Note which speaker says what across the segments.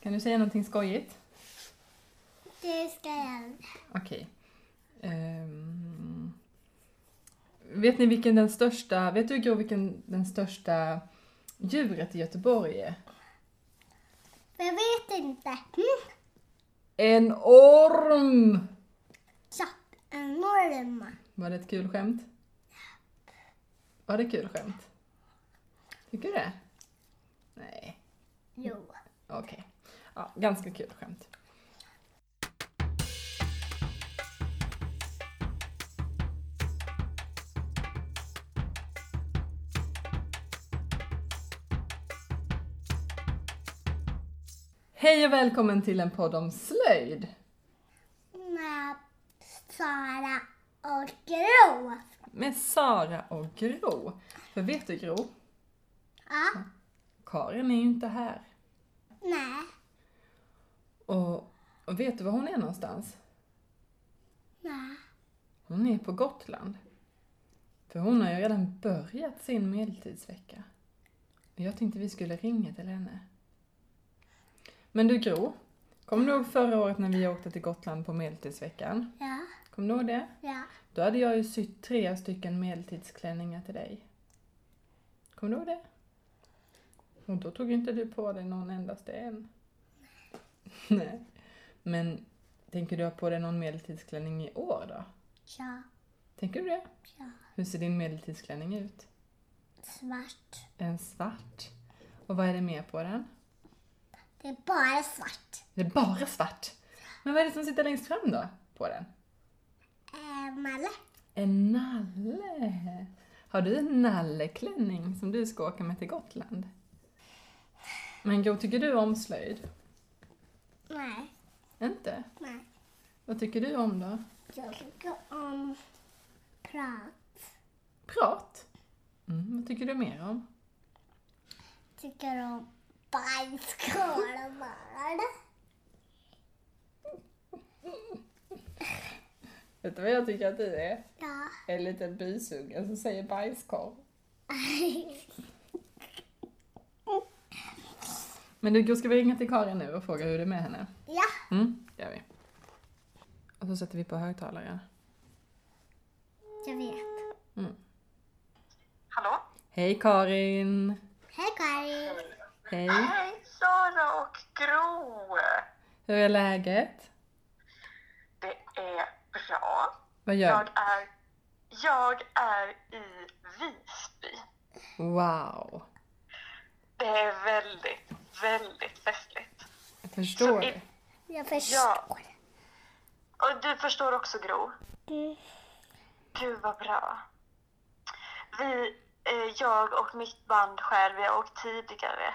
Speaker 1: Kan du säga någonting skojigt?
Speaker 2: Det ska jag.
Speaker 1: Okej. Ehm, vet ni vilken den största, vet du Gro vilken den största djuret i Göteborg är?
Speaker 2: Jag vet inte. Mm.
Speaker 1: En orm!
Speaker 2: Tjapp, enorma.
Speaker 1: Var det ett kul skämt? Var det kul skämt? Tycker du det? Nej,
Speaker 2: Jo.
Speaker 1: okej. Ja, ganska kul skämt. Hej och välkommen till en podd om slöjd.
Speaker 2: Med Sara och Gro.
Speaker 1: med Sara och Gro. För vet du Gro,
Speaker 2: Ja.
Speaker 1: Karin är ju inte här.
Speaker 2: Nej.
Speaker 1: Och, och vet du var hon är någonstans?
Speaker 2: Nej.
Speaker 1: Hon är på Gotland. För hon har ju redan börjat sin medeltidsvecka. Och jag tänkte vi skulle ringa till henne. Men du Gro, kommer du ihåg förra året när vi åkte till Gotland på medeltidsveckan?
Speaker 2: Ja.
Speaker 1: Kommer du ihåg det?
Speaker 2: Ja.
Speaker 1: Då hade jag ju sytt tre stycken medeltidsklänningar till dig. Kommer du ihåg det? Och då tog inte du på dig någon endaste en. Nej. Men tänker du ha på dig någon medeltidsklänning i år då?
Speaker 2: Ja.
Speaker 1: Tänker du det?
Speaker 2: Ja.
Speaker 1: Hur ser din medeltidsklänning ut?
Speaker 2: Svart.
Speaker 1: En svart. Och vad är det mer på den?
Speaker 2: Det är bara svart.
Speaker 1: Det är bara svart. Men vad är det som sitter längst fram då? På den?
Speaker 2: Eh, Malle.
Speaker 1: En nalle! Har du en nalleklänning som du ska åka med till Gotland? Men Gro, tycker du om slöjd?
Speaker 2: Nej.
Speaker 1: Inte?
Speaker 2: Nej.
Speaker 1: Vad tycker du om då?
Speaker 2: Jag tycker om prat.
Speaker 1: Prat? Mm, vad tycker du mer om?
Speaker 2: Tycker om bajskorvar.
Speaker 1: Vet du vad jag tycker att du är?
Speaker 2: Ja.
Speaker 1: En liten bysunge som säger bajskorv. Men du, Gro, ska vi ringa till Karin nu och fråga hur det är med henne?
Speaker 2: ja.
Speaker 1: Mm, gör vi. Och så sätter vi på högtalaren.
Speaker 2: Jag vet.
Speaker 3: Hallå?
Speaker 1: Hej Karin!
Speaker 2: Hej Karin.
Speaker 1: Hej!
Speaker 3: Hej Sara och Gro!
Speaker 1: Hur är läget?
Speaker 3: Det är bra.
Speaker 1: Vad gör
Speaker 3: Jag
Speaker 1: du?
Speaker 3: är, jag är i Visby.
Speaker 1: Wow!
Speaker 3: Det är väldigt, väldigt festligt.
Speaker 1: Jag förstår det.
Speaker 2: Jag
Speaker 3: Ja.
Speaker 2: förstår.
Speaker 3: Och du förstår också Gro?
Speaker 2: Mm.
Speaker 3: Gud vad bra. Vi, eh, jag och mitt band själv, vi har åkt tidigare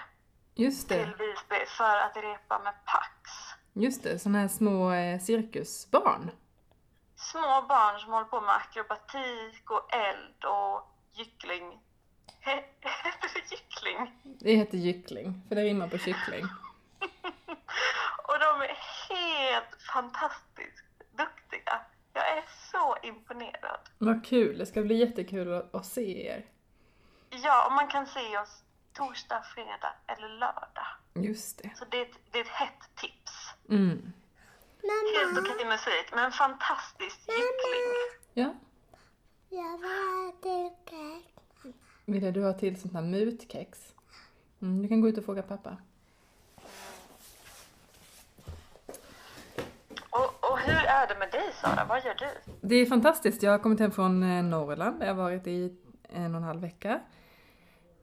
Speaker 1: Just
Speaker 3: till
Speaker 1: det,
Speaker 3: Visby för att repa med Pax.
Speaker 1: just det. Såna här små eh, cirkusbarn.
Speaker 3: små barn som håller på med akrobatik och eld och gyckling. Heter det gyckling?
Speaker 1: Det heter gyckling, för det rimmar på kyckling.
Speaker 3: Och de är helt fantastiskt duktiga. Jag är så imponerad.
Speaker 1: Vad kul, det ska bli jättekul att, att se er.
Speaker 3: Ja, och man kan se oss torsdag, fredag eller lördag.
Speaker 1: Just det.
Speaker 3: Så det är ett, det är ett hett tips.
Speaker 1: Mm.
Speaker 3: Helt
Speaker 2: Mamma.
Speaker 3: okej musik, men fantastisk gyckling.
Speaker 1: Ja,
Speaker 2: Jag var tillbaka.
Speaker 1: ville du ha till sånt här mutkex? Mm, du kan gå ut och fråga pappa.
Speaker 3: Och, och hur är det med dig Sara? Vad gör du?
Speaker 1: Det är fantastiskt. Jag har kommit hem från eh, Norrland. Jag har varit i en och en halv vecka.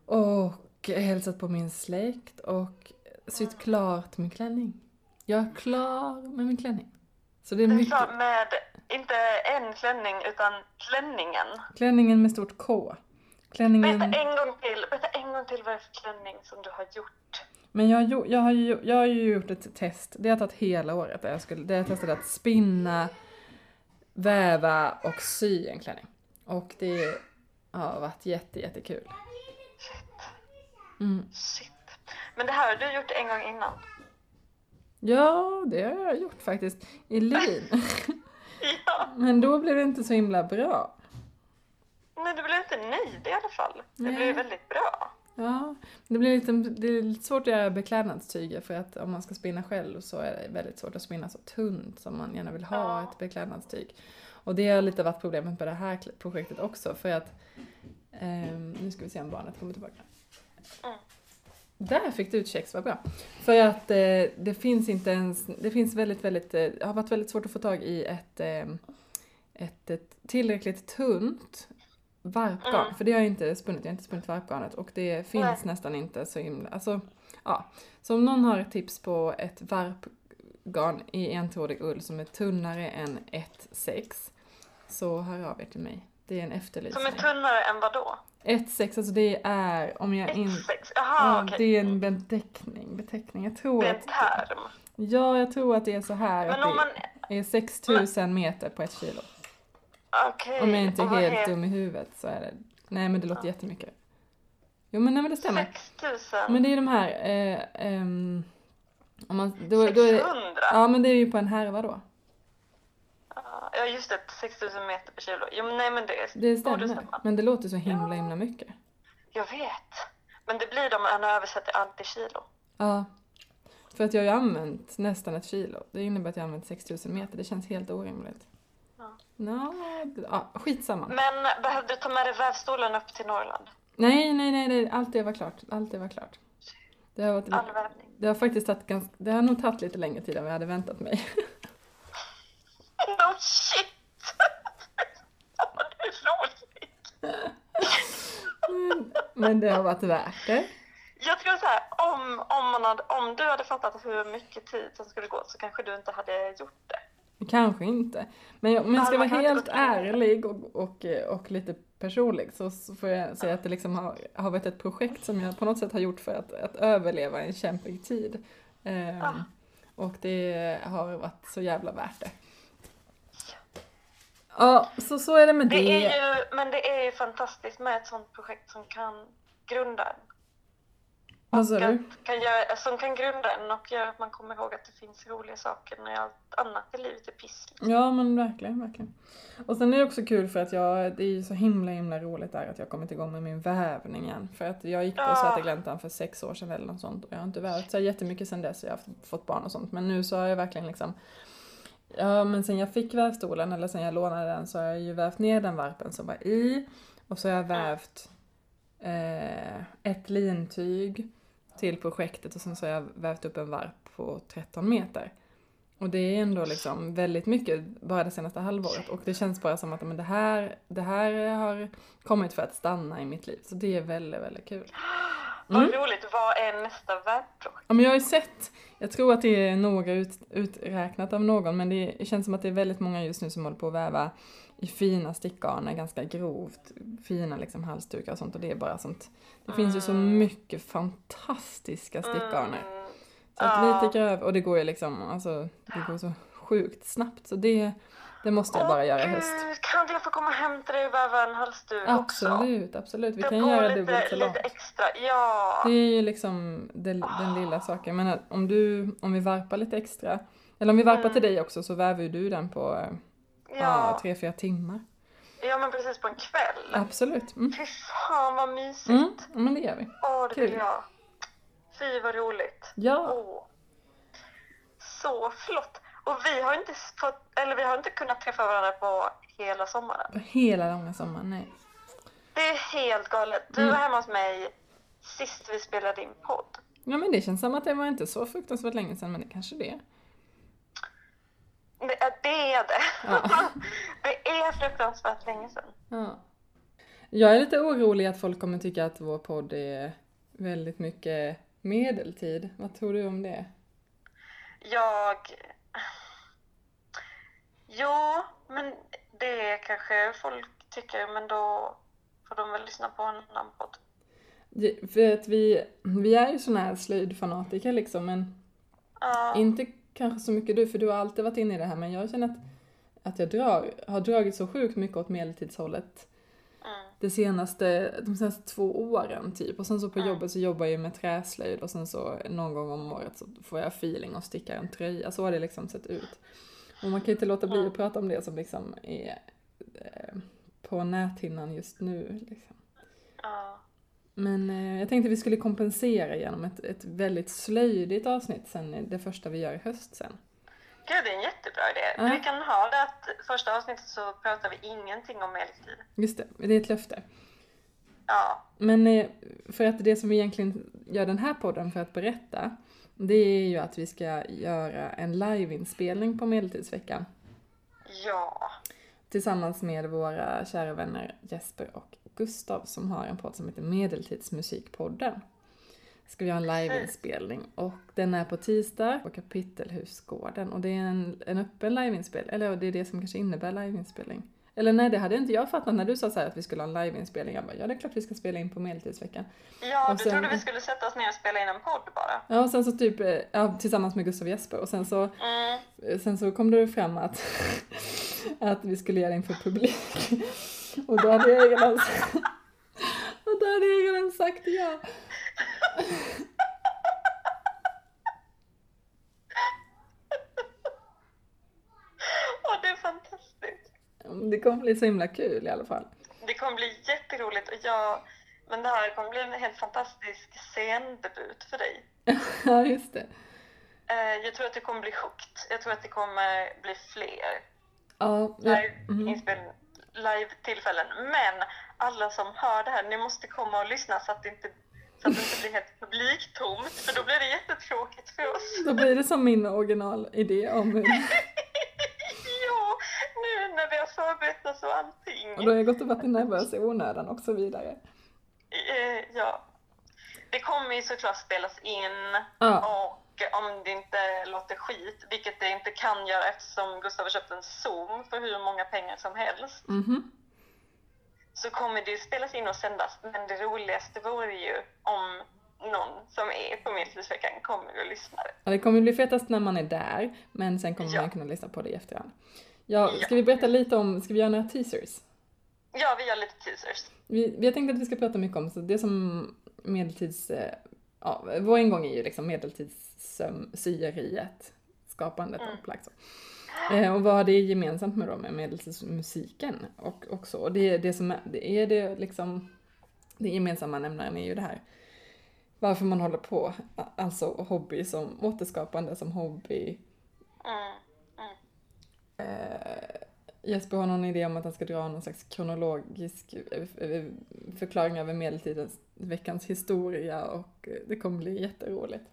Speaker 1: Och hälsat på min släkt och sytt klart min klänning. Jag är klar med min klänning. Så det är
Speaker 3: Du är
Speaker 1: mycket.
Speaker 3: klar med, inte en klänning, utan klänningen.
Speaker 1: Klänningen med stort K. Klänningen.
Speaker 3: Berätta en gång till, berätta en gång till vad det är för klänning som du har gjort.
Speaker 1: Men jag, har gjo- jag, har, ju- jag har ju gjort ett test. Det har tagit hela året. Där jag, skulle, där jag testade att spinna, väva och sy en klänning. Och det har varit jätte, jättekul.
Speaker 3: Shit,
Speaker 1: Mm.
Speaker 3: shit. Men det här har du gjort en gång innan.
Speaker 1: Ja, det har jag gjort faktiskt. I lin.
Speaker 3: Ja,
Speaker 1: Men då blev det inte så himla bra.
Speaker 3: men du blev inte nöjd i alla fall. Det
Speaker 1: Nej.
Speaker 3: blev väldigt bra.
Speaker 1: Ja, det blir lite, det är lite svårt att göra beklädnadstyger för att om man ska spinna själv så är det väldigt svårt att spinna så tunt som man gärna vill ha
Speaker 3: Ja.
Speaker 1: ett beklädnadstyg. Och det har lite varit problemet med det här kl- projektet också för att ehm, nu ska vi se om barnet kommer tillbaka.
Speaker 3: Mm.
Speaker 1: Där fick du ut kex, vad bra. För att eh, det finns inte ens, det finns väldigt, väldigt, eh, det har varit väldigt svårt att få tag i ett, ehm, ett, ett tillräckligt tunt varpgarn.
Speaker 3: Mm.
Speaker 1: För det har jag inte spunnit, jag har inte spunnit varpgarnet och det finns
Speaker 3: Nej.
Speaker 1: nästan inte så himla, alltså ja. Så om någon har ett tips på ett varpgarn i entrådig ull som är tunnare än 1,6 så hör av er till mig. Det är en
Speaker 3: Som är
Speaker 1: efterlysning.
Speaker 3: tunnare än vadå?
Speaker 1: 1,6 alltså det är om jag inte...
Speaker 3: 1,6?
Speaker 1: Ja,
Speaker 3: Jaha, okej.
Speaker 1: Det är en beteckning, beteckning. Jag tror
Speaker 3: Det är en
Speaker 1: att...
Speaker 3: term.
Speaker 1: Ja, jag tror att det är så här
Speaker 3: Men
Speaker 1: att
Speaker 3: om man...
Speaker 1: det är 6000 meter på ett kilo.
Speaker 3: Okej.
Speaker 1: Om jag inte
Speaker 3: och
Speaker 1: är
Speaker 3: vad
Speaker 1: helt
Speaker 3: heter-
Speaker 1: dum i huvudet så är det... Nej men det låter jättemycket. Jo men nej men det stämmer.
Speaker 3: 6000?
Speaker 1: Men det är de här... Eh, ehm, om man, då, då är,
Speaker 3: 600?
Speaker 1: ja men det är ju på en härva då.
Speaker 3: Ja, just det. 6000 meter per kilo. Jo, men nej, men det,
Speaker 1: Det stämmer.
Speaker 3: borde stämma.
Speaker 1: Men det låter så himla himla mycket.
Speaker 3: Jag vet. Men det blir de när man översätter antikilo.
Speaker 1: Ja. För att jag har ju använt nästan ett kilo. Det innebär att jag har använt 6000 meter. Det känns helt orimligt.
Speaker 3: Ja.
Speaker 1: Nå, det- ja, skitsamma.
Speaker 3: Men behövde du ta med dig vävstolen upp till Norrland?
Speaker 1: Nej, nej, nej, nej, allt det var klart. Allt det var klart. Det har,
Speaker 3: All
Speaker 1: varit,
Speaker 3: vävning?
Speaker 1: det har faktiskt tagit ganska, det har nog tagit lite längre tid än vad jag hade väntat mig.
Speaker 3: No Oh, shit! Vad du är rolig!
Speaker 1: Men, men det har varit värt det.
Speaker 3: Jag tror så här, om, om, man hade, om du hade fattat hur mycket tid som skulle gå så kanske du inte hade gjort det.
Speaker 1: Kanske inte. Men jag, om jag ska
Speaker 3: Ja,
Speaker 1: vara
Speaker 3: man kan inte
Speaker 1: helt
Speaker 3: gå till längre.
Speaker 1: ärlig och, och, och lite personlig så så får jag säga att det liksom har, har varit ett projekt som jag på något sätt har gjort för att, att överleva en kämpig tid. Ehm,
Speaker 3: Ja.
Speaker 1: Och det har varit så jävla värt det. Ja, så så är det med det.
Speaker 3: det är ju, men det är ju fantastiskt med ett sånt projekt som kan grunda en.
Speaker 1: Vad sa du?
Speaker 3: att- Kan göra, som kan grunda en och göra att man kommer ihåg att det finns roliga saker när allt annat i livet är piss. liksom.
Speaker 1: Ja men verkligen, verkligen. Och sen är det också kul för att jag, det är ju så himla himla roligt där att jag har kommit igång med min vävning igen. För att jag gick på
Speaker 3: Ja.
Speaker 1: Svartegläntan för sex år sedan eller något sånt och jag har inte vävt så jättemycket sedan dess jag har haft- fått barn och sånt. Men nu så har jag verkligen liksom Ja men sen jag fick vävstolen eller sen jag lånade den så har jag ju vävt ner den varpen som var i och så har jag vävt eh, ett lintyg till projektet och sen så har jag vävt upp en varp på 13 meter. Och det är ändå liksom väldigt mycket bara det senaste halvåret och det känns bara som att men det, här, det här har kommit för att stanna i mitt liv. Så det är väldigt, väldigt kul. Mm.
Speaker 3: Vad roligt, vad är nästa värdprojekt?
Speaker 1: Ja, men jag har ju sett, jag tror att det är noga ut, uträknat av någon, men det känns som att det är väldigt många just nu som håller på att väva i fina stickgarner, ganska grovt, fina liksom halsdukar och sånt och det är bara sånt. Det finns
Speaker 3: Ah.
Speaker 1: ju så mycket fantastiska stickgarner.
Speaker 3: Mm,
Speaker 1: Så att
Speaker 3: Ja.
Speaker 1: lite gröv, och det går ju liksom, alltså det går så sjukt snabbt så det, det måste jag bara
Speaker 3: Åh,
Speaker 1: göra i
Speaker 3: gud,
Speaker 1: höst.
Speaker 3: Kan inte jag få komma och hämta dig och väva en halsduk också?
Speaker 1: Absolut, absolut. Vi
Speaker 3: Det
Speaker 1: kan
Speaker 3: går
Speaker 1: göra
Speaker 3: lite,
Speaker 1: dubbelt så långt.
Speaker 3: Lite extra, ja.
Speaker 1: Det är ju liksom det, den lilla saken. Men att om, du, om vi varpar lite extra, eller om vi varpar till dig också så väver ju du den på eh, Mm. ja.
Speaker 3: ja.
Speaker 1: tre, fyra timmar.
Speaker 3: ja, men precis på en kväll.
Speaker 1: Absolut. Mm.
Speaker 3: Fy fan vad mysigt.
Speaker 1: Mm. ja, Men det gör vi.
Speaker 3: Åh, det vill
Speaker 1: Kul.
Speaker 3: jag. Fy vad roligt.
Speaker 1: Ja,
Speaker 3: Åh. Så flott. Och vi har inte fått, eller vi har inte kunnat träffa varandra på hela sommaren.
Speaker 1: på hela långa sommaren. Nej.
Speaker 3: Det är helt galet. Du
Speaker 1: Mm.
Speaker 3: var hemma hos mig sist vi spelade in podd.
Speaker 1: Ja men det känns som att det var inte så fruktansvärt länge sedan men det kanske det är.
Speaker 3: Det, ja, det är det.
Speaker 1: Ja.
Speaker 3: det är fruktansvärt länge sedan.
Speaker 1: Ja. Jag är lite orolig att folk kommer tycka att vår podd är väldigt mycket medeltid. Vad tror du om det?
Speaker 3: Jag... Jo, men det kanske folk tycker, men då får de väl lyssna på en annan podd.
Speaker 1: Det- För att vi, vi är ju såna här slöjdfanatiker liksom men
Speaker 3: Ja.
Speaker 1: Inte kanske så mycket du, för du har alltid varit inne i det här, men jag känner att, att jag drar, har dragit så sjukt mycket åt medeltidshållet
Speaker 3: Mm.
Speaker 1: det senaste, de senaste två åren typ. Och sen så på jobbet så jobbar jag ju med träslöjd och sen så någon gång om året så får jag feeling och stickar en tröja. Så har det liksom sett ut. Och man kan ju inte låta bli att prata om det som liksom är eh, på näthinnan just nu. Liksom.
Speaker 3: Ja.
Speaker 1: Men eh, jag tänkte vi skulle kompensera genom ett, ett väldigt slöjdigt avsnitt sen, eh, det första vi gör i höst sen.
Speaker 3: Gud, det är en jättebra idé.
Speaker 1: Ja.
Speaker 3: Vi kan ha det att första avsnittet så pratar vi ingenting om medeltid.
Speaker 1: Just det, det är ett löfte.
Speaker 3: Ja,
Speaker 1: Men eh, för att det som vi egentligen gör den här podden för att berätta, det är ju att vi ska göra en liveinspelning på Medeltidsveckan
Speaker 3: ja,
Speaker 1: tillsammans med våra kära vänner Jesper och Gustav som har en podd som heter Medeltidsmusikpodden. Ska vi ha en liveinspelning och den är på tisdag på Kapitelhusgården och det är en, en öppen liveinspelning, eller det är det som kanske innebär liveinspelning. Eller nej, det hade inte jag fattat när du sa så här att vi skulle ha en liveinspelning. Jag bara, ja det är klart vi ska spela in på Medeltidsveckan.
Speaker 3: ja
Speaker 1: Och
Speaker 3: du
Speaker 1: sen-
Speaker 3: trodde vi skulle sätta oss ner och spela in en podd bara.
Speaker 1: Ja, och sen så typ, eh, ja, tillsammans med Gustav och Jesper och sen så,
Speaker 3: Mm.
Speaker 1: eh, sen så kom det fram att, att vi skulle göra det inför publik. Och då hade jag redan, och då hade jag redan sagt ja.
Speaker 3: Åh, det är fantastiskt.
Speaker 1: Det kommer bli så himla kul i alla fall.
Speaker 3: Det kommer bli jätteroligt och jag... Men det här kommer bli en helt fantastisk scendebut för dig.
Speaker 1: Ja, just det.
Speaker 3: Eh, Jag tror att det kommer bli sjukt. Jag tror att det kommer bli fler
Speaker 1: Ja, ja, mm.
Speaker 3: live-tillfällen. live Men alla som hör det här, ni måste komma och lyssna så att det inte, så att det inte blir helt publiktomt. För då blir det jättetråkigt för oss.
Speaker 1: då blir det som min originalidé om hur,
Speaker 3: ja, nu när vi har förberett och allting.
Speaker 1: och då har jag gått och varit nervös i onödan och så vidare.
Speaker 3: Eh, Ja. Det kommer ju såklart spelas in.
Speaker 1: Ja,
Speaker 3: Och om det inte låter skit, vilket det inte kan göra eftersom Gustav har köpt en Zoom för hur många pengar som helst,
Speaker 1: mhm.
Speaker 3: så kommer det ju spelas in och sändas. Men det roligaste vore ju om någon som är på Medeltidsveckan kommer och lyssnar.
Speaker 1: Ja, det kommer bli fetast när man är där, men sen kommer
Speaker 3: Ja.
Speaker 1: man kunna lyssna på det i efterhand. Ja,
Speaker 3: Ja.
Speaker 1: ska vi berätta lite om, ska vi göra några teasers?
Speaker 3: Ja, vi gör lite teasers.
Speaker 1: Vi, vi har tänkt att vi ska prata mycket om så det som medeltids... eh, Ja, vår ingång är ju liksom medeltidssyeriet, skapandet av
Speaker 3: Mm.
Speaker 1: plagg. så. Eh, Och vad har det är gemensamt med, då, med medeltidsmusiken och också, och det, det som är det, är det liksom, det gemensamma nämnaren är ju det här varför man håller på, a- alltså hobby som återskapande som hobby.
Speaker 3: Mm.
Speaker 1: Eh, Jesper har någon idé om att han ska dra någon slags kronologisk eh, eh, förklaring över medeltidens veckans historia och eh, det kommer bli jätteroligt.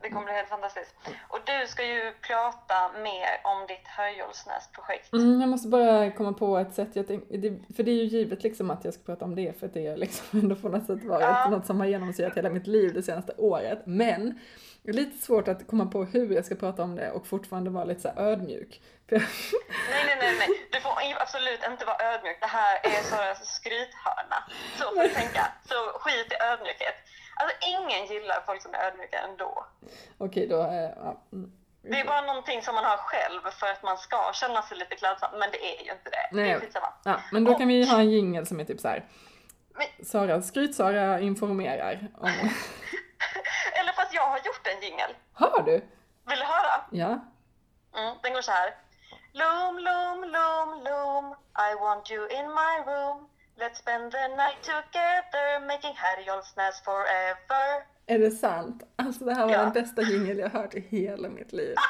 Speaker 3: Det kommer bli helt fantastiskt. Och du ska ju prata mer om ditt Höjolfsnäs-projekt.
Speaker 1: Mm, jag måste bara komma på ett sätt, jag tänk, det, för det är ju givet liksom att jag ska prata om det för att det är liksom ändå på något sätt varit
Speaker 3: Ja.
Speaker 1: något som har genomsyrat hela mitt liv det senaste året. Men det är lite svårt att komma på hur jag ska prata om det och fortfarande vara lite så här ödmjuk. För jag,
Speaker 3: Nej, nej, nej, nej. Du får ju absolut inte vara ödmjuk. Det här är Saras skrythörna. Så får du tänka. Så skit i ödmjukhet. Alltså ingen gillar folk som är ödmjuka ändå.
Speaker 1: okej då, eh, ja. mm.
Speaker 3: Det är bara någonting som man har själv för att man ska känna sig lite klädsam. Men det är ju inte det. Det
Speaker 1: Nej.
Speaker 3: är skitsamma.
Speaker 1: Ja, men då kan vi ha en jingel som är typ så här.
Speaker 3: Men-
Speaker 1: Sara, skryt-Sara informerar om...
Speaker 3: Eller fast jag har gjort en jingel.
Speaker 1: Hör du?
Speaker 3: Vill du höra?
Speaker 1: Ja.
Speaker 3: Mm, den går så här. Loom, loom, loom, loom. I want you in my room. Let's spend the night together making Herjolfsnäs forever.
Speaker 1: Är det sant? Alltså det här var
Speaker 3: Ja.
Speaker 1: den bästa jingel jag hört i hela mitt liv.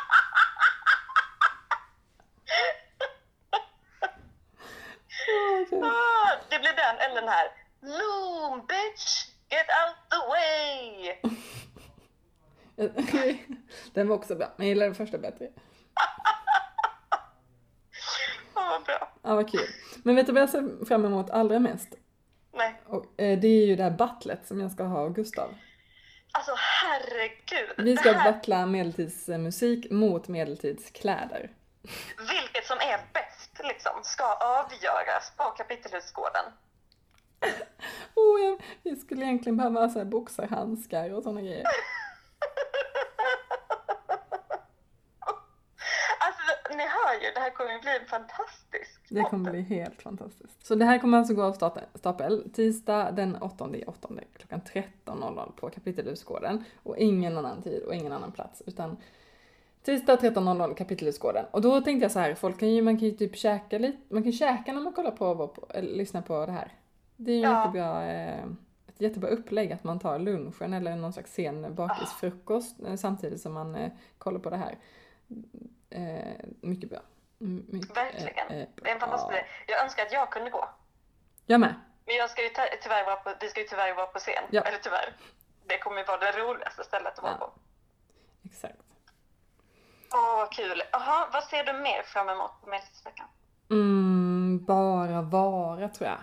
Speaker 1: Åh, gud.
Speaker 3: Ah, det blir den eller den här. Loom bitch, get out the way!
Speaker 1: den var också bra, men jag gillar den första bättre.
Speaker 3: Åh vad bra.
Speaker 1: Ja, vad kul. Men vet du vad jag ser fram emot allra mest?
Speaker 3: Nej,
Speaker 1: Och, eh, det är ju det här battlet som jag ska ha av Gustav.
Speaker 3: alltså herregud.
Speaker 1: Vi ska
Speaker 3: Det här,
Speaker 1: battla medeltidsmusik mot medeltidskläder.
Speaker 3: vilket som är bäst liksom ska avgöras på Kapitelhusgården.
Speaker 1: Oh, jag, jag skulle egentligen behöva ha så här boxarhandskar och såna grejer.
Speaker 3: Alltså ni hör ju, det här kommer ju bli en fantastisk
Speaker 1: Det kommer bli helt fantastiskt. Så det här kommer alltså gå av stapel- stapel tisdag den 8 i 8 klockan 13.00 på Kapitelhusgården och ingen annan tid och ingen annan plats utan tisdag 13.00 Kapitelhusgården. Och då tänkte jag så här, folk kan ju, man kan ju typ käka lite, man kan käka när man kollar på, vår- på eller lyssnar på det här. Det är ju
Speaker 3: Ja.
Speaker 1: jättebra eh, ett jättebra upplägg att man tar lunchen eller någon slags sen bakisfrukost eh, samtidigt som man eh, kollar på det här. Eh, mycket bra. Mm, mycket,
Speaker 3: Verkligen.
Speaker 1: eh,
Speaker 3: Det är en fantastisk
Speaker 1: bra.
Speaker 3: idé. Jag önskar att jag kunde gå.
Speaker 1: Jag med.
Speaker 3: Men jag ska ju ty- tyvärr vara på, vi ska ju tyvärr vara på scen.
Speaker 1: Ja.
Speaker 3: Eller tyvärr. Det kommer ju vara det roligaste stället att vara
Speaker 1: Ja.
Speaker 3: på.
Speaker 1: Exakt.
Speaker 3: Åh, vad kul. Jaha, vad ser du mer fram emot på Medeltidsveckan?
Speaker 1: Mm, bara vara tror jag.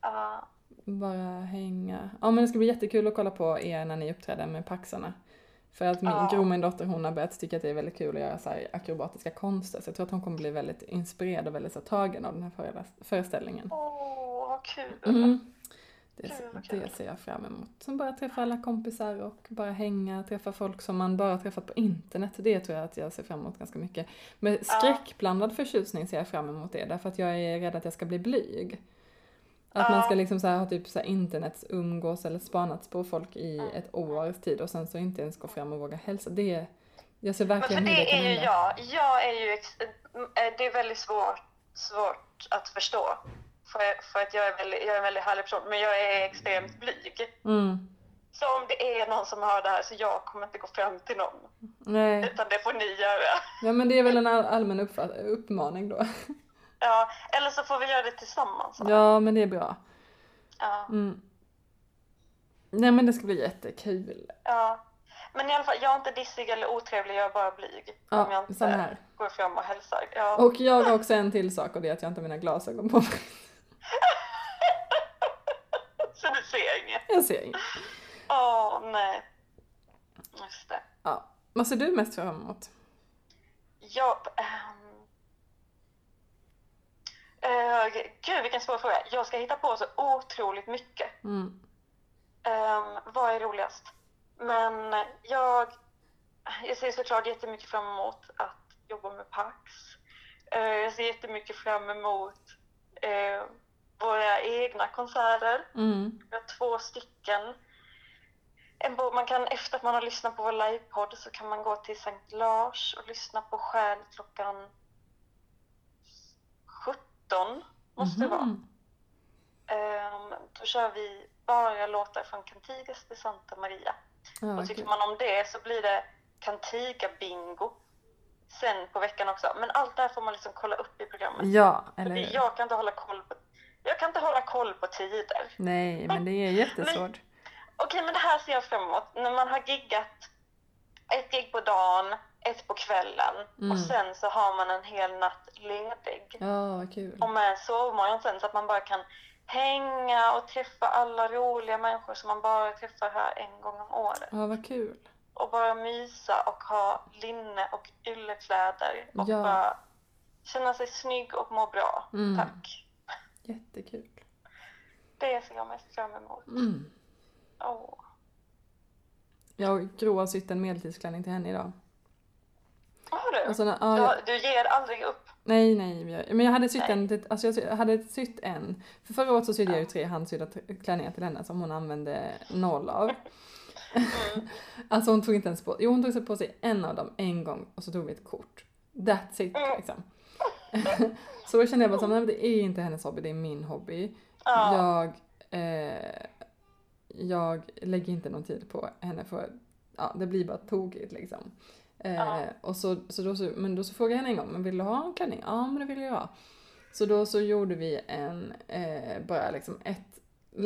Speaker 3: Ja,
Speaker 1: Bara hänga. Ja men det ska bli jättekul att kolla på er när ni uppträder med Paxarna. För att min,
Speaker 3: Ja.
Speaker 1: Gro, min dotter, hon har börjat tycka att det är väldigt kul att göra så här akrobatiska konster. Så jag tror att hon kommer bli väldigt inspirerad och väldigt så här, tagen av den här föreläs- föreställningen.
Speaker 3: Åh, vad kul.
Speaker 1: Mm. Det,
Speaker 3: Gud, vad kul.
Speaker 1: det ser jag fram emot. Sen bara träffa alla kompisar och bara hänga, träffa folk som man bara träffat på internet. Det tror jag att jag ser fram emot ganska mycket. Med skräckblandad förtjusning ser jag fram emot det, därför att jag är rädd att jag ska bli blyg. Att man
Speaker 3: Ja.
Speaker 1: ska liksom så här, ha typ så här internetsumgås eller spanats på folk i ett års tid och sen så inte ens gå fram och våga hälsa. Det, jag ser
Speaker 3: Men för
Speaker 1: verkligen hur Alltså, det
Speaker 3: det
Speaker 1: kan
Speaker 3: är ju
Speaker 1: hända.
Speaker 3: jag. Jag är ju... Ex- eh, det är väldigt svårt, svårt att förstå. För, för att jag är, väldigt, jag är en väldigt härlig person, men jag är extremt blyg.
Speaker 1: Mm.
Speaker 3: Så om det är någon som hör det här så jag kommer inte gå fram till någon.
Speaker 1: Nej,
Speaker 3: Utan det får ni göra.
Speaker 1: ja, men det är väl en all- allmän uppfatt- uppmaning då.
Speaker 3: Ja, eller så får vi göra det tillsammans.
Speaker 1: Ja, men det är bra.
Speaker 3: Ja.
Speaker 1: Mm. Nej men det ska bli jättekul.
Speaker 3: Ja. Men i alla fall, jag är inte dissig eller otrevlig, jag är bara blyg. om jag
Speaker 1: Ja,
Speaker 3: inte
Speaker 1: samma här.
Speaker 3: går fram och hälsar. Ja.
Speaker 1: Och jag har också en till sak och det är att jag inte har mina glasögon på mig.
Speaker 3: Så du ser inget.
Speaker 1: Jag ser inget.
Speaker 3: Åh, nej. Just det.
Speaker 1: Ja. Vad ser du mest fram emot?
Speaker 3: Jag... ehm. Eh, gud, vilken svår fråga. Jag ska hitta på så otroligt mycket.
Speaker 1: Mm.
Speaker 3: Um, vad är roligast? Men jag, jag ser såklart jättemycket fram emot att jobba med Pax. Eh, jag ser jättemycket fram emot eh, våra egna konserter.
Speaker 1: Mm.
Speaker 3: Vi har två stycken. En, bo- man kan, efter att man har lyssnat på vår livepodd så kan man gå till Sankt Lars och lyssna på Själ klockan 17, måste det vara.
Speaker 1: Mhm.
Speaker 3: Ehm, då kör vi bara låtar från Cantigas de Santa Maria.
Speaker 1: Ja,
Speaker 3: och
Speaker 1: vad
Speaker 3: tycker
Speaker 1: kul.
Speaker 3: man om det så blir det Cantiga-bingo sen på veckan också. Men allt det här får man liksom kolla upp i programmet.
Speaker 1: ja,
Speaker 3: För
Speaker 1: eller
Speaker 3: det-
Speaker 1: hur?
Speaker 3: jag, kan inte hålla koll på, jag kan inte hålla koll på tider.
Speaker 1: Nej, men det är jättesvårt.
Speaker 3: Okej, men det här ser jag fram emot. När man har giggat ett gig på dagen, ett på kvällen
Speaker 1: Mm.
Speaker 3: och sen så har man en hel natt ledig.
Speaker 1: Ja, vad kul.
Speaker 3: och med sovmorgon sen så att man bara kan hänga och träffa alla roliga människor som man bara träffar här en gång om året.
Speaker 1: Ja, vad kul.
Speaker 3: Och bara mysa och ha linne och yllekläder och
Speaker 1: Ja.
Speaker 3: bara känna sig snygg och må bra.
Speaker 1: Mm.
Speaker 3: Tack.
Speaker 1: Jättekul.
Speaker 3: Det ser jag mest fram emot.
Speaker 1: Mm.
Speaker 3: Åh.
Speaker 1: Jag gråa sytt en medeltidsklänning till henne idag.
Speaker 3: Har du?
Speaker 1: Och sen, ja, jag,
Speaker 3: Ja, du ger aldrig upp.
Speaker 1: Nej, nej. jag- Men jag hade sytt en, till- alltså jag sy- hade sytt en. För förra året så sydde jag ju tre handsydda t- klänningar till henne som hon använde noll av. alltså hon tog inte ens på, jo hon tog sig på sig en av dem en gång och så tog vi ett kort. That's it liksom. så då kände jag bara så här, nej men det är inte hennes hobby, det är min hobby.
Speaker 3: Ja.
Speaker 1: Jag, eh, jag lägger inte någon tid på henne för ja, det blir bara tokigt liksom. Eh,
Speaker 3: Ja.
Speaker 1: och så, så då, så, men då så frågade jag henne en gång, men vill du ha en klänning? Ja, men det vill jag ha. Så då så gjorde vi en, eh, bara liksom ett,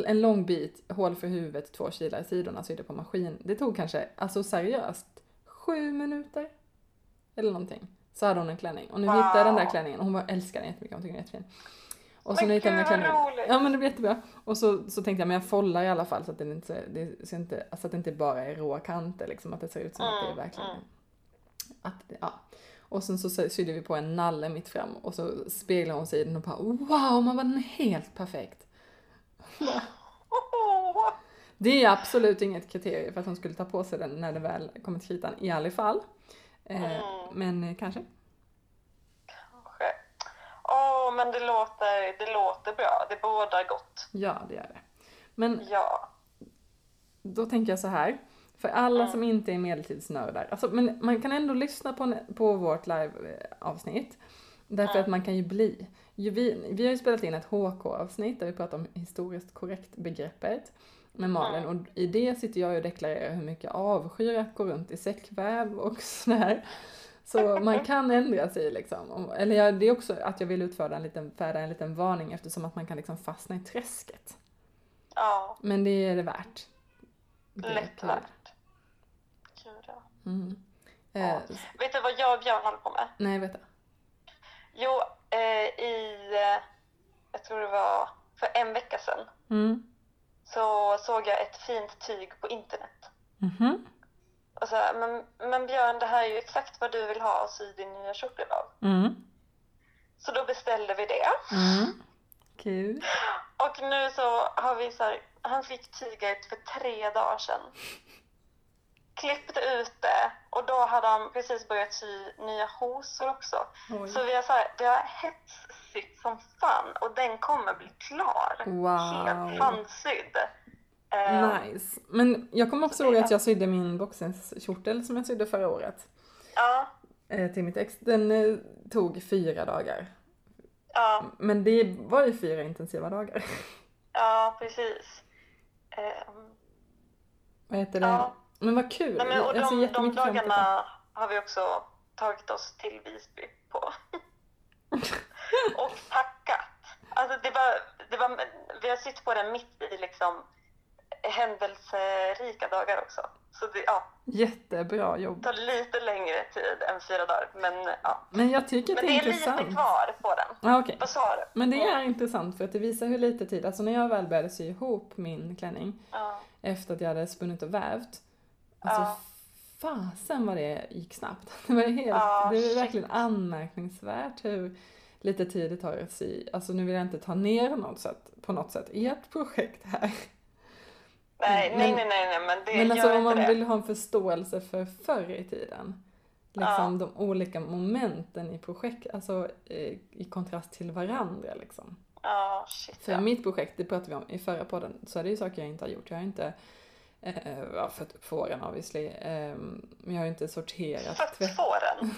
Speaker 1: en lång bit, hål för huvudet, två kilar i sidorna, sydde på maskin. Det tog kanske, alltså seriöst, sju minuter. Eller någonting. Så hade hon en klänning. Och nu
Speaker 3: Wow.
Speaker 1: hittade jag den där klänningen och hon bara älskar den jättemycket, hon tycker den är jättefin. Och så
Speaker 3: Men
Speaker 1: nu hittade jag
Speaker 3: gud,
Speaker 1: den där
Speaker 3: vad
Speaker 1: klänningen.
Speaker 3: roligt.
Speaker 1: Ja men det blir jättebra. Och så, så tänkte jag, men jag follar i alla fall så att, den inte, ser- det, ser inte, alltså att det inte bara är råa kanter liksom, att det ser ut som att det är
Speaker 3: Mm,
Speaker 1: verkligen
Speaker 3: mm.
Speaker 1: att det, ja. Och sen så sydde vi på en nalle mitt fram och så speglade hon sig i den och bara wow, man var den helt perfekt.
Speaker 3: Åh.
Speaker 1: Det är absolut inget kriterium för att hon skulle ta på sig den när det väl kommer till kritan i alla fall. Eh,
Speaker 3: Mm.
Speaker 1: Men eh, kanske.
Speaker 3: Kanske. Åh, men det låter, det låter bra. Det bådar gott.
Speaker 1: Ja, det gör det. Men
Speaker 3: Ja.
Speaker 1: då tänker jag så här. För alla som inte är medeltidsnördar, alltså, men man kan ändå lyssna på, på vårt live-avsnitt. Därför att man kan ju bli. Ju Vi, vi har ju spelat in ett HK-avsnitt där vi pratar om historiskt korrekt-begreppet. med Malin och i det sitter jag och deklarerar hur mycket jag avskyr att gå runt i säckväv och sådär. Så man kan ändra sig liksom. Och- Eller jag, det är också att jag vill utfärda en liten, färda en liten varning eftersom att man kan liksom fastna i träsket.
Speaker 3: Ja,
Speaker 1: Men det är det värt. Det är
Speaker 3: lätt
Speaker 1: kul.
Speaker 3: värt. Mm. Gud, ja.
Speaker 1: Mm.
Speaker 3: Ja.
Speaker 1: Eh,
Speaker 3: Vet du vad jag och Björn håller på med?
Speaker 1: nej, vänta.
Speaker 3: Jo, eh, i... eh, Jag tror det var för en vecka sedan
Speaker 1: Mm.
Speaker 3: så såg jag ett fint tyg på internet.
Speaker 1: Mhm.
Speaker 3: Och så här, men, men Björn, det här är ju exakt vad du vill ha och sy din nya kjol av.
Speaker 1: Mm.
Speaker 3: Så då beställde vi det.
Speaker 1: Mm. Kul.
Speaker 3: Och nu så har vi så här, han fick tyget för tre dagar sedan. Klippte ut det och då hade han precis börjat sy nya hosor också.
Speaker 1: Oj.
Speaker 3: Så vi har, så här, vi har hetssytt som fan och den kommer bli klar.
Speaker 1: Wow.
Speaker 3: Helt fansydd. Eh,
Speaker 1: Nice. Men jag kommer också ihåg att jag sydde min boxningskjortel som jag sydde förra året
Speaker 3: Ja,
Speaker 1: eh, till mitt ex. Den eh, tog fyra dagar.
Speaker 3: ja,
Speaker 1: Men det var ju fyra intensiva dagar.
Speaker 3: ja, precis. Eh,
Speaker 1: Vad heter det?
Speaker 3: Ja.
Speaker 1: Men vad kul!
Speaker 3: nej, men,
Speaker 1: jag
Speaker 3: och
Speaker 1: ser
Speaker 3: de, de
Speaker 1: jättemycket fram emot det.
Speaker 3: dagarna har vi också tagit oss till Visby på. och packat. Alltså det var, det var, vi har suttit på den mitt i liksom händelserika dagar också. Så det ja,
Speaker 1: Jättebra jobb.
Speaker 3: tar lite längre tid än fyra dagar. Men, ja.
Speaker 1: Men jag tycker att
Speaker 3: men
Speaker 1: det
Speaker 3: det
Speaker 1: är
Speaker 3: är lite
Speaker 1: intressant.
Speaker 3: kvar på den.
Speaker 1: Ja, okej.
Speaker 3: Vad sa du?
Speaker 1: Men det är intressant för att det visar hur lite tid, alltså när jag väl började sy ihop min klänning
Speaker 3: Ja,
Speaker 1: efter att jag hade spunnit och vävt. Alltså
Speaker 3: Ja.
Speaker 1: fasen vad det gick snabbt. Det, var helt,
Speaker 3: Ja,
Speaker 1: det är
Speaker 3: shit.
Speaker 1: verkligen anmärkningsvärt hur lite tid det tar att sy. Alltså nu vill jag inte ta ner något sätt, på något sätt ert projekt här.
Speaker 3: Nej, nej,
Speaker 1: Mm. Men-
Speaker 3: nej, nej, nej, men det
Speaker 1: Men
Speaker 3: gör
Speaker 1: alltså
Speaker 3: inte
Speaker 1: om man
Speaker 3: det.
Speaker 1: vill ha en förståelse för förr i tiden. Liksom de olika momenten i projekt, alltså eh, i kontrast till varandra liksom.
Speaker 3: Ja, shit.
Speaker 1: För
Speaker 3: Ja.
Speaker 1: mitt projekt, det pratade vi om i förra podden, så är det ju saker jag inte har gjort. Jag har inte eh, ja, fött upp fåren obviously, eh, men jag har ju inte sorterat
Speaker 3: Fött
Speaker 1: tvätt.
Speaker 3: fåren.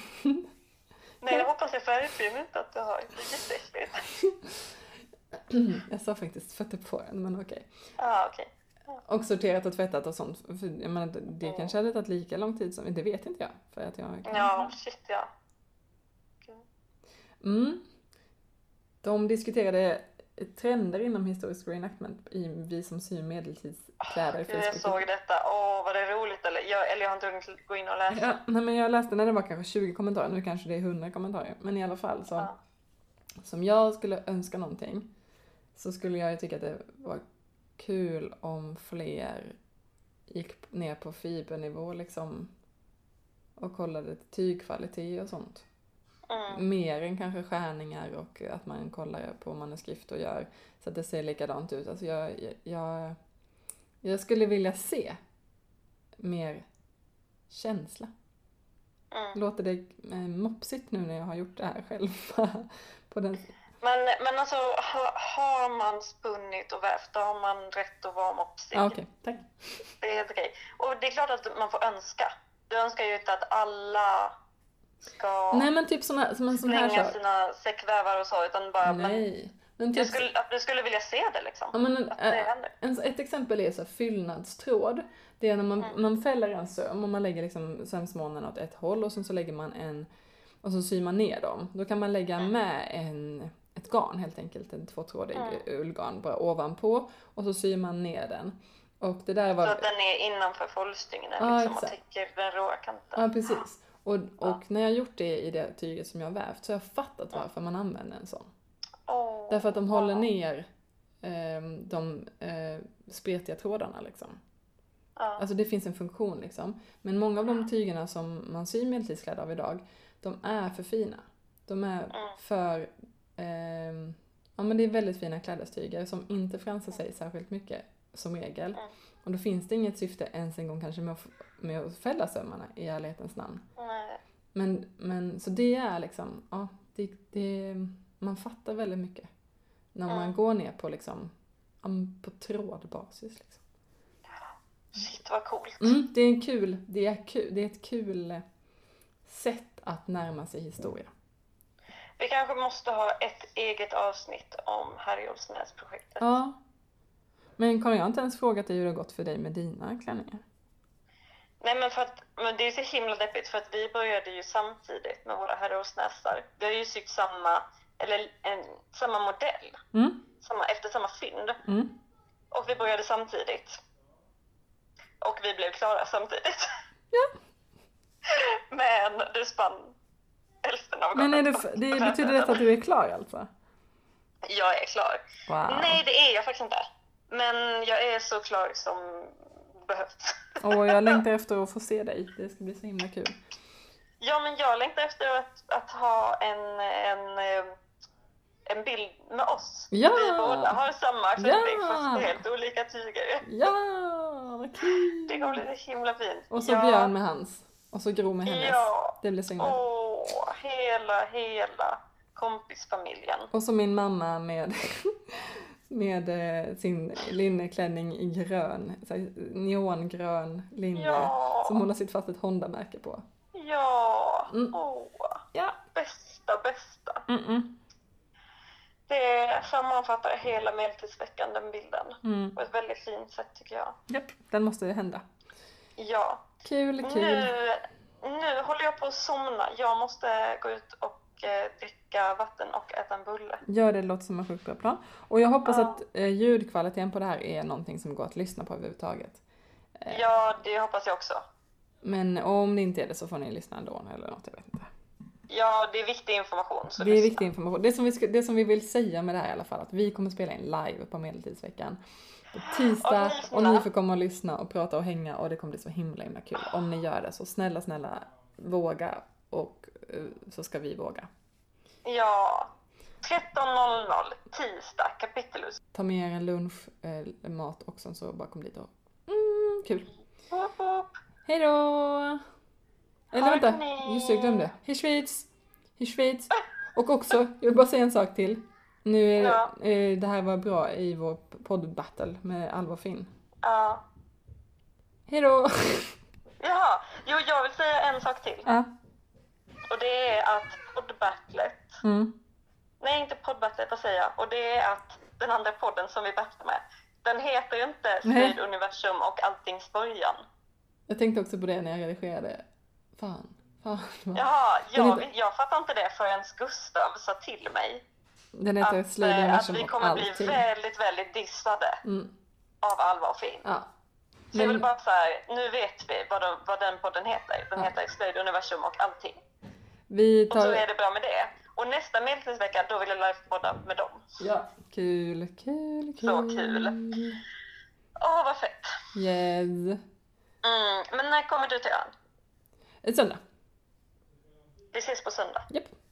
Speaker 3: nej, jag hoppas jag verkligen inte att du har. Det är jätteäckligt.
Speaker 1: Mm. Jag sa faktiskt fött upp fåren, men okej.
Speaker 3: Ja, okej.
Speaker 1: Och sorterat och tvättat och sånt. För, jag menar, det- det
Speaker 3: Mm.
Speaker 1: kanske hade tagit lika lång tid som, det vet inte jag. För att jag kan.
Speaker 3: Ja, shit ja.
Speaker 1: Mm. De diskuterade trender inom historisk reenactment i Vi som syr medeltidskläder
Speaker 3: Gud, Ah, jag såg detta. Åh, vad det är roligt. Eller jag, eller jag har inte hunnit gå in och läsa.
Speaker 1: Ja, nej men jag läste när det var kanske 20 kommentarer, nu kanske det är 100 kommentarer. Men i alla fall så.
Speaker 3: Ja.
Speaker 1: Som jag skulle önska någonting så skulle jag ju tycka att det var kul om fler gick ner på fibernivå liksom och kollade tygkvalitet och sånt.
Speaker 3: Mm.
Speaker 1: Mer än kanske skärningar och att man kollar på manuskript och gör så att det ser likadant ut. Alltså jag, jag- jag, jag skulle vilja se mer känsla.
Speaker 3: Mm.
Speaker 1: Låter det eh, mopsigt nu när jag har gjort det här själv? på den...
Speaker 3: Men, men alltså, ha, har man spunnit och vävt, då har man rätt att vara mopsig.
Speaker 1: ah, Okej, tack.
Speaker 3: Det är helt okej. Och det är klart att man får önska. Du önskar ju inte att alla ska
Speaker 1: Nej men typ såna, som en sån här
Speaker 3: slänga
Speaker 1: sak.
Speaker 3: sina säckvävar och så, utan bara... Men,
Speaker 1: Nej. Men
Speaker 3: du
Speaker 1: typ,
Speaker 3: skulle, att du skulle vilja se det liksom.
Speaker 1: ja, men,
Speaker 3: Att det
Speaker 1: eh,
Speaker 3: händer.
Speaker 1: en, ett exempel är så här, fyllnadstråd. Det är när man,
Speaker 3: Mm.
Speaker 1: man fäller en söm och man lägger liksom sömsmånen åt ett håll och sen så lägger man en och så syr man ner dem. Då kan man lägga
Speaker 3: Mm.
Speaker 1: med en, ett garn helt enkelt, en tvåtrådig
Speaker 3: Mm.
Speaker 1: ullgarn bara ovanpå och så syr man ner den. Och det där var...
Speaker 3: Så att den är innanför folkstygnen
Speaker 1: Ja,
Speaker 3: liksom, och
Speaker 1: exakt.
Speaker 3: täcker den råa kanten.
Speaker 1: Ja, precis. Och, och när jag gjort det i det tyget som jag har vävt så har jag fattat varför man använder en sån.
Speaker 3: Åh.
Speaker 1: Därför att de håller ner ehm, de eh, spretiga trådarna liksom.
Speaker 3: Ja.
Speaker 1: Alltså det finns en funktion liksom. Men många av de tygerna som man syr medeltidskläder av idag, de är för fina. De är för... ehm, ja men det är väldigt fina klädestyger som inte fransar sig särskilt mycket som regel. Och då finns det inget syfte ens en gång kanske med att, med att fälla sömmarna i ärlighetens namn.
Speaker 3: Nej.
Speaker 1: Men, men så det är liksom, ja, det, det, man fattar väldigt mycket när man går ner på liksom, ja, men på trådbasis. Liksom.
Speaker 3: Shit vad coolt.
Speaker 1: Mm, det är en kul, det är kul, det är ett kul eh, sätt att närma sig historia.
Speaker 3: Vi kanske måste ha ett eget avsnitt om Harry Olsnäs projektet.
Speaker 1: Ja. Men Karin, jag har inte ens frågat dig hur det har gått för dig med dina klänningar.
Speaker 3: Nej men för att, men det är ju så himla deppigt för att vi började ju samtidigt med våra herrosnäsar. Vi har ju sytt samma, eller en, samma modell,
Speaker 1: Mm,
Speaker 3: samma, efter samma fynd.
Speaker 1: mm.
Speaker 3: Och vi började samtidigt. Och vi blev klara samtidigt.
Speaker 1: Ja.
Speaker 3: Men du spann hälften av
Speaker 1: Men är det,
Speaker 3: garnet
Speaker 1: f-
Speaker 3: på-
Speaker 1: det
Speaker 3: på den
Speaker 1: betyder
Speaker 3: tiden.
Speaker 1: detta att du är klar alltså?
Speaker 3: Jag är klar.
Speaker 1: Wow.
Speaker 3: Nej, det är jag faktiskt inte. Men jag är så klar som behövs.
Speaker 1: Och jag längtar efter att få se dig. Det ska bli så himla kul.
Speaker 3: Ja, men jag längtar efter att, att ha en, en, eh, en bild med oss.
Speaker 1: Ja!
Speaker 3: Vi båda har samma klänning
Speaker 1: Ja!
Speaker 3: fast helt olika tyger.
Speaker 1: Ja, vad kul!
Speaker 3: Det kommer bli så himla fint.
Speaker 1: Och så
Speaker 3: ja.
Speaker 1: Björn med hans. Och så Gro med hennes.
Speaker 3: Ja.
Speaker 1: Det blir så himla
Speaker 3: Åh, hela, hela kompisfamiljen.
Speaker 1: Och så min mamma med, med eh, sin linneklänning i grön, så här neongrön linne
Speaker 3: Ja.
Speaker 1: som hon har sitt fast ett Honda-märke på.
Speaker 3: Ja,
Speaker 1: Mm.
Speaker 3: åh,
Speaker 1: Ja.
Speaker 3: bästa, bästa.
Speaker 1: Mm-mm.
Speaker 3: Det sammanfattar hela medeltidsveckan, den bilden.
Speaker 1: Mm.
Speaker 3: På ett väldigt fint sätt tycker jag.
Speaker 1: Japp, den måste hända.
Speaker 3: Ja.
Speaker 1: Kul,
Speaker 3: Mm.
Speaker 1: kul.
Speaker 3: Nu, nu håller jag på att somna. Jag måste gå ut och eh, dricka vatten och äta en bulle.
Speaker 1: Gör det, det låter som en sjukt bra plan. Och jag hoppas
Speaker 3: Ja.
Speaker 1: att eh, ljudkvaliteten på det här är någonting som går att lyssna på överhuvudtaget. Eh,
Speaker 3: Ja, det hoppas jag också.
Speaker 1: Men om det inte är det så får ni lyssna ändå eller något, jag vet inte.
Speaker 3: Ja, det är viktig information. Så
Speaker 1: det är
Speaker 3: lyssna.
Speaker 1: viktig information. Det som, vi ska, det som vi vill säga med det här i alla fall, att vi kommer spela in live på Medeltidsveckan på tisdag
Speaker 3: Och lyssna.
Speaker 1: och ni får komma och lyssna och prata och hänga och det kommer bli så himla himla kul om ni gör det. Så snälla, snälla våga och eh, så ska vi våga.
Speaker 3: Ja. 13.00 tisdag, kapitelus.
Speaker 1: Ta med er en lunch, eh, mat och sen så bara kom dit och mm, kul.
Speaker 3: Woop, woop.
Speaker 1: Hej då! Eller
Speaker 3: Ha det
Speaker 1: vänta,
Speaker 3: ni.
Speaker 1: just det, jag glömde. Hej Schweiz! Hej Schweiz! Och också, jag vill bara säga en sak till. Nu är
Speaker 3: Ja.
Speaker 1: eh, det här var bra i vår poddbattle med Alva och Finn.
Speaker 3: Ja.
Speaker 1: Hej då!
Speaker 3: Jaha, jo, jag vill säga en sak till.
Speaker 1: ja,
Speaker 3: Och det är att poddbattlet
Speaker 1: mm.
Speaker 3: Nej, inte poddbattlet, vad säger jag? Och det är att den andra podden som vi battlar med, den heter ju inte
Speaker 1: Nej.
Speaker 3: Strid universum och alltings början.
Speaker 1: Jag tänkte också på det när jag redigerade. Fan, fan. fan.
Speaker 3: Jaha,
Speaker 1: Den
Speaker 3: jag,
Speaker 1: heter-
Speaker 3: jag fattar inte det förrän Gustav sa till mig
Speaker 1: Den heter
Speaker 3: att,
Speaker 1: Slöjd
Speaker 3: eh, att
Speaker 1: universum
Speaker 3: vi
Speaker 1: och
Speaker 3: kommer bli
Speaker 1: allting.
Speaker 3: väldigt, väldigt dissade
Speaker 1: Mm.
Speaker 3: av Alva och Finn.
Speaker 1: Ja.
Speaker 3: Så jag
Speaker 1: Men-
Speaker 3: vill bara så här, nu vet vi vad, de, vad den podden heter. Den
Speaker 1: Ja.
Speaker 3: heter Slöjd universum och allting.
Speaker 1: Vi
Speaker 3: Och så
Speaker 1: tar...
Speaker 3: är det bra med det. Och nästa medeltidsvecka, då vill jag livepodda med dem.
Speaker 1: Ja. Kul, kul, kul.
Speaker 3: Så kul. Åh, vad fett!
Speaker 1: Yes.
Speaker 3: Mm, men när kommer du till ön?
Speaker 1: Ett Söndag.
Speaker 3: Vi ses på söndag.
Speaker 1: Japp.